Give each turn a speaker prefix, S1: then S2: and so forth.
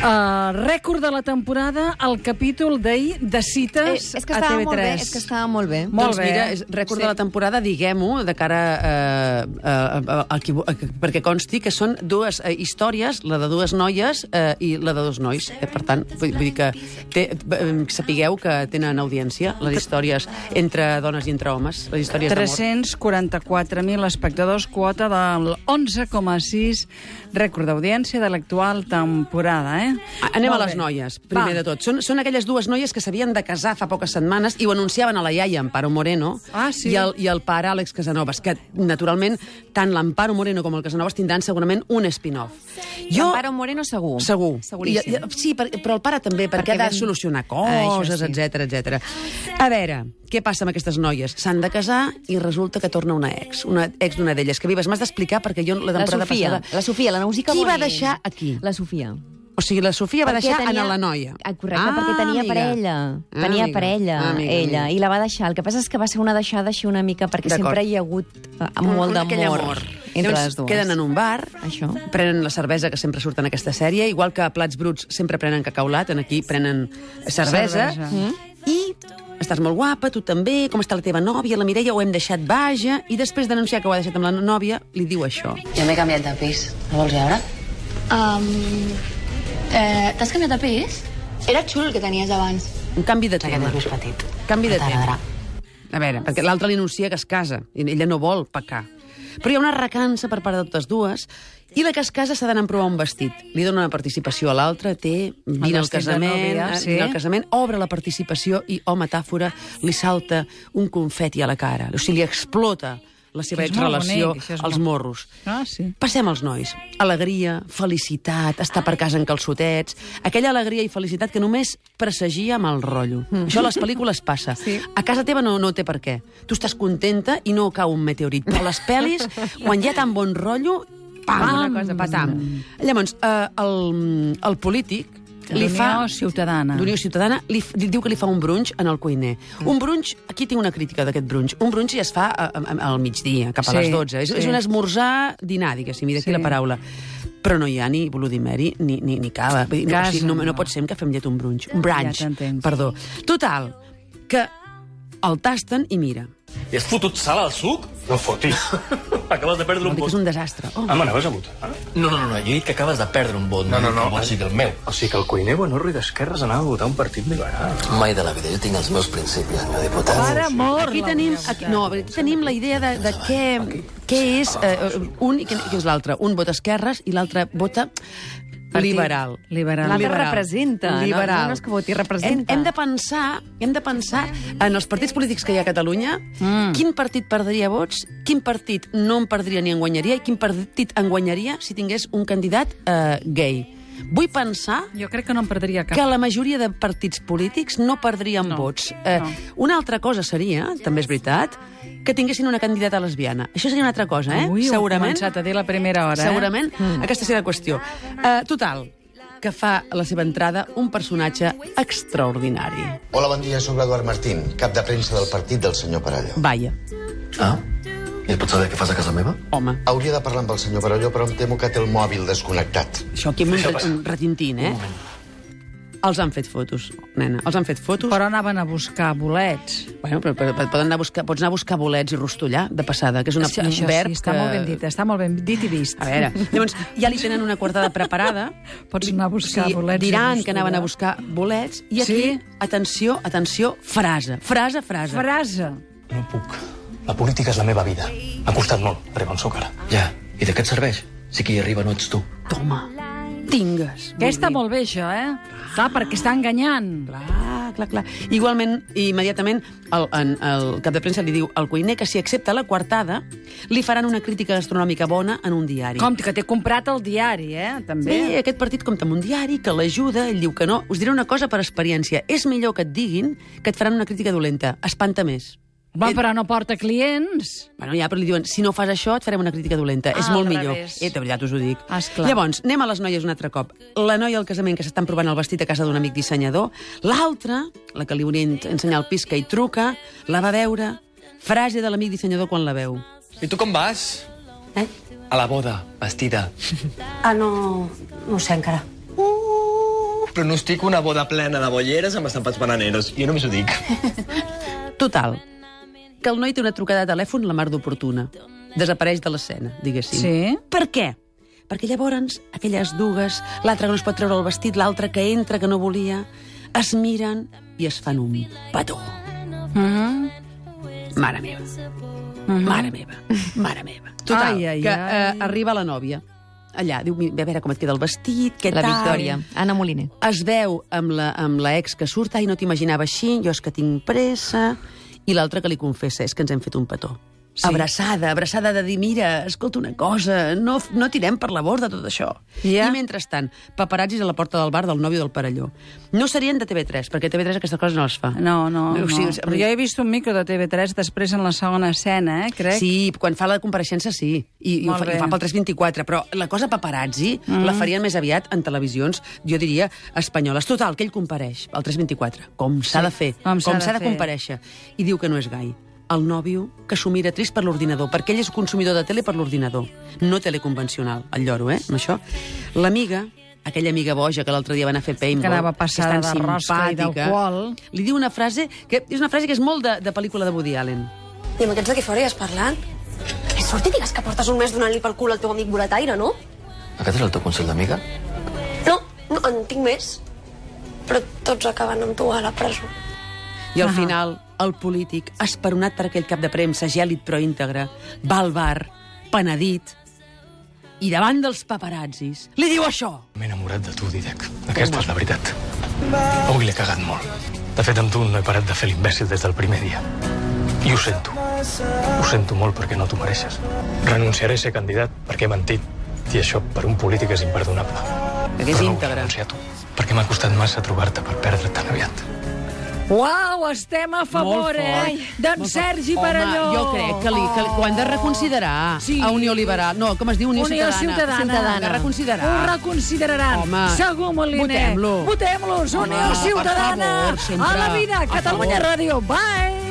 S1: Uh, rècord de la temporada, el capítol d'ahir de
S2: Eh,
S1: cites
S2: és que
S1: a
S2: estava
S1: TV3.
S2: molt bé, és que estava molt bé.
S1: Molt
S3: doncs
S1: bé.
S3: mira, és rècord sí. de la temporada, diguem-ho, de cara eh, a, a, a, qui, vo- a, perquè consti que són dues eh, històries, la de dues noies eh, i la de dos nois. Eh, per tant, vull, vull dir que té, eh, sapigueu que tenen audiència les històries entre dones i entre homes, les històries d'amor.
S1: 344.000 espectadors, quota del 11,6 rècord d'audiència de l'actual temporada, eh?
S3: A- Anem a
S1: Molt
S3: les
S1: bé.
S3: noies, primer
S1: Va.
S3: de tot. Són, són aquelles dues noies que s'havien de casar fa poques setmanes i ho anunciaven a la iaia, Amparo Moreno,
S1: Ah, sí?
S3: i, el, i el pare, Àlex Casanovas, que, naturalment, tant l'Amparo Moreno com el Casanovas tindran segurament un spin-off.
S2: Jo... Amparo Moreno segur.
S3: Segur.
S2: Seguríssim.
S3: I, i, sí, per, però el pare també,
S2: Perquè
S3: perquè, ha de
S2: vam-
S3: solucionar
S2: Ah, això
S3: coses,
S2: sí.
S3: etc etc. A veure, què passa amb aquestes noies? S'han de casar i resulta que torna una ex, una ex d'una d'elles. Que vives, m'has d'explicar perquè jo la
S2: La
S3: temporada
S2: Sofia,
S3: passada...
S2: la Sofia, la música
S3: Qui va
S2: Bonin.
S3: deixar aquí?
S2: La Sofia.
S3: O sigui, la Sofia va
S2: Perquè
S3: deixar
S2: tenia-
S3: anar la noia.
S2: Ah, correcte, perquè tenia
S3: amiga.
S2: parella.
S3: Ah,
S2: tenia
S3: amiga.
S2: parella,
S3: Ah, amiga,
S2: ella,
S3: amiga.
S2: i la va deixar. El que passa és que va ser una deixada així una mica, perquè
S3: D'acord.
S2: sempre hi ha hagut eh,
S3: Un-
S2: molt
S3: un- aquell
S2: d'amor
S3: amor.
S2: entre
S3: Llavors,
S2: les dues.
S3: Queden en un bar,
S2: Això.
S3: prenen la cervesa que sempre surt en aquesta sèrie, igual que a Plats Bruts sempre prenen cacaulat, en aquí prenen cervesa.
S1: Cervesa.
S3: Mm. I estàs molt guapa, tu també, com està la teva nòvia, la Mireia, ho hem deixat vaja, i després d'anunciar que ho ha deixat amb la nòvia, li diu això.
S4: Jo m'he canviat de pis. La vols veure?
S5: Um, eh, T'has canviat de pis? Era xul el que tenies abans.
S3: Un canvi de
S4: Aquest
S3: tema.
S4: és més petit.
S3: Canvi de
S4: No t'agradarà.
S3: tema. Ah, A veure, perquè l'altre li anuncia que es casa, i ella no vol pecar. Però hi ha una recança per part de totes dues, i la que es casa s'ha d'anar a provar un vestit. Li dona una participació a l'altra, té, vine al
S1: vestit de
S3: casament,
S1: núvia,
S3: eh,
S1: sí.
S3: vine al casament, obre la participació i, oh, metàfora, li salta un confeti a la cara. O sigui, li explota la seva
S1: Que és molt
S3: exrelació
S1: bonic, això és
S3: als
S1: molt-
S3: morros.
S1: Ah, sí.
S3: Passem als nois. Alegria, felicitat, estar per casa en calçotets... Aquella alegria i felicitat que només presagia mal rotllo. Mm. Això a les pel·lícules passa. Sí. A casa teva no, no té per què. Tu estàs contenta i no cau un meteorit. Però a les pel·lis, quan hi ha tan bon rotllo, pam,
S1: Una cosa passa.
S3: patam. Llavors, eh, el, el polític li
S1: D'Unió
S3: fa...
S1: Ciutadana.
S3: D'Unió Ciutadana li, f- li diu que li fa un brunch en el cuiner. Un brunch, aquí tinc una crítica d'aquest brunch, un brunch ja es fa a, a, al migdia, cap a
S1: Sí,
S3: les 12. És, és
S1: sí.
S3: un esmorzar dinar, diguéssim, i d'aquí
S1: Sí.
S3: sí. la paraula. Però no hi ha ni voludimeri ni, ni, ni cava. Vull dir, No, o sigui, no,
S1: Casa,
S3: no
S1: no.
S3: pot ser que fem llet un brunch. Un brunch,
S1: t'entenc.
S3: perdó. Total, que el tasten i mira.
S6: I has fotut sal al suc?
S7: No fotis.
S6: Acabes de perdre
S3: Vol
S6: un
S3: dir que
S6: bot.
S3: és un desastre. Oh,
S6: Ah, me n'has hagut. Ah?
S8: No, no, no, no, jo he dit que acabes de perdre un vot.
S7: No, no, no.
S8: Que vol sigui el meu.
S7: O sigui que el cuiner Bonorri d'Esquerres anava a votar un partit liberal.
S8: Mai de la vida, jo tinc els meus principis, senyor diputat.
S1: Pare mort,
S3: Aquí tenim, aquí, no, aquí tenim la idea de, de què, què és eh, un i què, què és l'altre. Un vota esquerres i l'altre vota liberal.
S1: liberal.
S2: L'altre representa, no? No, no és que voti, representa.
S3: Hem, hem, de pensar, hem de pensar en els partits polítics que hi ha a Catalunya, mm. quin partit perdria vots, quin partit no en perdria ni en guanyaria i quin partit en guanyaria si tingués un candidat eh, gay. Vull pensar
S1: Jo crec que no em perdria cap.
S3: que la majoria de partits polítics no perdrien
S1: No,
S3: vots. Eh,
S1: no.
S3: Una altra cosa seria, també és veritat, que tinguessin una candidata lesbiana. Això seria una altra cosa, eh?
S1: Ui, Segurament. He
S3: Segurament.
S1: començat a dir la primera hora, eh?
S3: Segurament. Mm. Aquesta serà la qüestió. Eh, total, que fa a la seva entrada un personatge extraordinari.
S9: Hola, bon dia, sóc l'Eduard Martín, cap de premsa del partit del senyor Parelló.
S3: Vaya,
S8: Ah, i et pots saber què fas a casa meva?
S3: home.
S9: Hauria de parlar amb el senyor Parelló, però em temo que té el mòbil desconnectat.
S3: Això aquí amb un, re- un retintint, eh? Els han fet fotos, nena. Els han fet
S1: eh?
S3: fotos.
S1: Però anaven a buscar bolets.
S3: Bueno, però, però, però poden anar a buscar, pots anar a buscar bolets i rostollar, de passada, que és una,
S1: Això,
S3: un
S1: això
S3: verb
S1: sí, està
S3: que...
S1: molt ben dit, està molt ben dit i vist.
S3: A veure, llavors ja li tenen una quartada preparada.
S1: Pots anar a buscar
S3: sí,
S1: bolets i
S3: Diran
S1: rostollar.
S3: que anaven a buscar bolets i aquí,
S1: Sí?
S3: atenció, atenció, frase, frase, frase.
S1: Frase.
S6: No puc. La política és la meva vida. M'ha costat molt arribar on sóc ara.
S8: Ja, i de què et serveix? Si qui hi arriba no ets tu.
S3: Toma, tingues.
S1: Que està
S3: Vull dir-
S1: molt bé, això, eh? Clar, perquè està enganyant.
S3: Clar, clar, clar. Igualment, immediatament, el, en, el cap de premsa li diu al cuiner que si accepta la quartada, li faran una crítica gastronòmica bona en un diari.
S1: Com que t'he comprat el diari, eh? També.
S3: Bé, aquest partit compta amb un diari que l'ajuda, ell diu que no. Us diré una cosa per experiència. És millor que et diguin que et faran una crítica dolenta. Espanta més.
S1: Va, però no porta clients.
S3: Bueno, ja, però li diuen, si no fas això, et farem una crítica dolenta.
S1: Ah,
S3: és molt
S1: al
S3: millor.
S1: revés.
S3: Eh, de veritat us ho dic.
S1: Ah, esclar.
S3: Llavors, anem a les noies un altre cop. La noia al casament que s'estan provant el vestit a casa d'un amic dissenyador. L'altra, la que li volia en- ensenyar el pis que hi truca, la va veure. Frase de l'amic dissenyador quan la veu.
S8: I tu com vas?
S3: Eh?
S8: A la boda, vestida.
S4: Ah, no... no ho sé encara.
S3: Ai,
S7: Pronostico una boda plena de bolleres amb estampats bananeros. Jo només ho dic.
S3: Total, que el noi té una trucada de telèfon la mar d'oportuna. Desapareix de l'escena, diguéssim.
S1: Sí.
S3: Per què? Perquè llavors, aquelles dues, l'altra que no es pot treure el vestit, l'altra que entra, que no volia, es miren i es fan un petó.
S1: Mhm.
S3: Mare meva. Mare meva. Mare meva. Mhm. Total,
S1: Ai, ai,
S3: que
S1: ai.
S3: eh, arriba la nòvia. Allà, diu, "Mi- a veure com et queda el vestit, què
S2: La
S3: tal?"
S2: Victòria, Anna Moliner.
S3: es veu amb la, amb la ex que surt, ai, no t'imaginava així, jo és que tinc pressa, i l'altra que li confessa és que ens hem fet un petó. Sí. Abraçada, abraçada de dir, mira, escolta una cosa, no, f- no tirem per la borda tot això.
S1: Ja.
S3: I mentrestant, paparazzis a la porta del bar del nòvio del Parelló. No serien de TV3, perquè TV3 aquestes coses no les fa.
S1: No, no, no.
S3: O sigui,
S1: Però jo he vist un micro de TV3 després en la segona escena, eh, crec.
S3: Sí, quan fa la compareixença sí, i, i, ho,
S1: Molt
S3: fa, i
S1: bé.
S3: ho fa pel 324, però la cosa paparazzi mm. la farien més aviat en televisions, jo diria, espanyoles. Total, que ell compareix al 324, com s'ha
S1: Sí,
S3: de fer,
S1: com s'ha
S3: com
S1: de
S3: s'ha de,
S1: fer.
S3: compareixer, i diu que no és gai. El nòvio que s'ho mira trist per l'ordinador, perquè ell és consumidor de tele per l'ordinador, no tele convencional, el lloro, eh, amb això. L'amiga, aquella amiga boja que l'altre dia va anar a fer paintball,
S1: anava
S3: que és
S1: passada
S3: tan
S1: de rosca i
S3: simpàtica,
S1: d'alcohol.
S3: li diu una frase que és una frase que és molt de, de pel·lícula de Woody Allen.
S10: I amb aquests d'aquí fora hi has parlat? Que sort i digues que portes un mes donant-li pel cul al teu amic boletaire, no?
S8: Aquest era el teu consell d'amiga?
S10: No, no, en tinc més. Però tots acaben amb tu a la presó.
S3: I al final, el polític, esperonat per aquell cap de premsa, gèlid però íntegre, va al bar, penedit, i davant dels paparazzis li diu això.
S6: M'he enamorat de tu, Didac. Aquesta és la veritat. Avui l'he cagat molt. De fet, amb tu no he parat de fer l'imbècil des del primer dia. I ho sento. Ho sento molt perquè no t'ho mereixes. Renunciaré a ser candidat perquè he mentit. I això per un polític és imperdonable.
S3: Que és
S6: Però no vull
S3: íntegre.
S6: renunciar a tu, perquè m'ha costat massa trobar-te per perdre tan aviat.
S1: Uau, estem a favor,
S3: Molt fort.
S1: eh? D'en
S3: Molt
S1: Sergi
S3: fort.
S1: Parelló.
S3: Home, jo crec que, li, que li, ho han de reconsiderar
S1: Sí.
S3: sí. a Unió Liberal. No, com es diu? Unió,
S1: Unió Ciutadana.
S3: Ciutadana. Que reconsiderar.
S1: Ho reconsideraran.
S3: Home,
S1: Segur, Moliner.
S3: votem-lo.
S1: Votem-los.
S3: Home,
S1: Unió
S3: per
S1: Ciutadana.
S3: favor, sempre.
S1: a la vida.
S3: A
S1: Catalunya
S3: favor.
S1: Ràdio. Bye.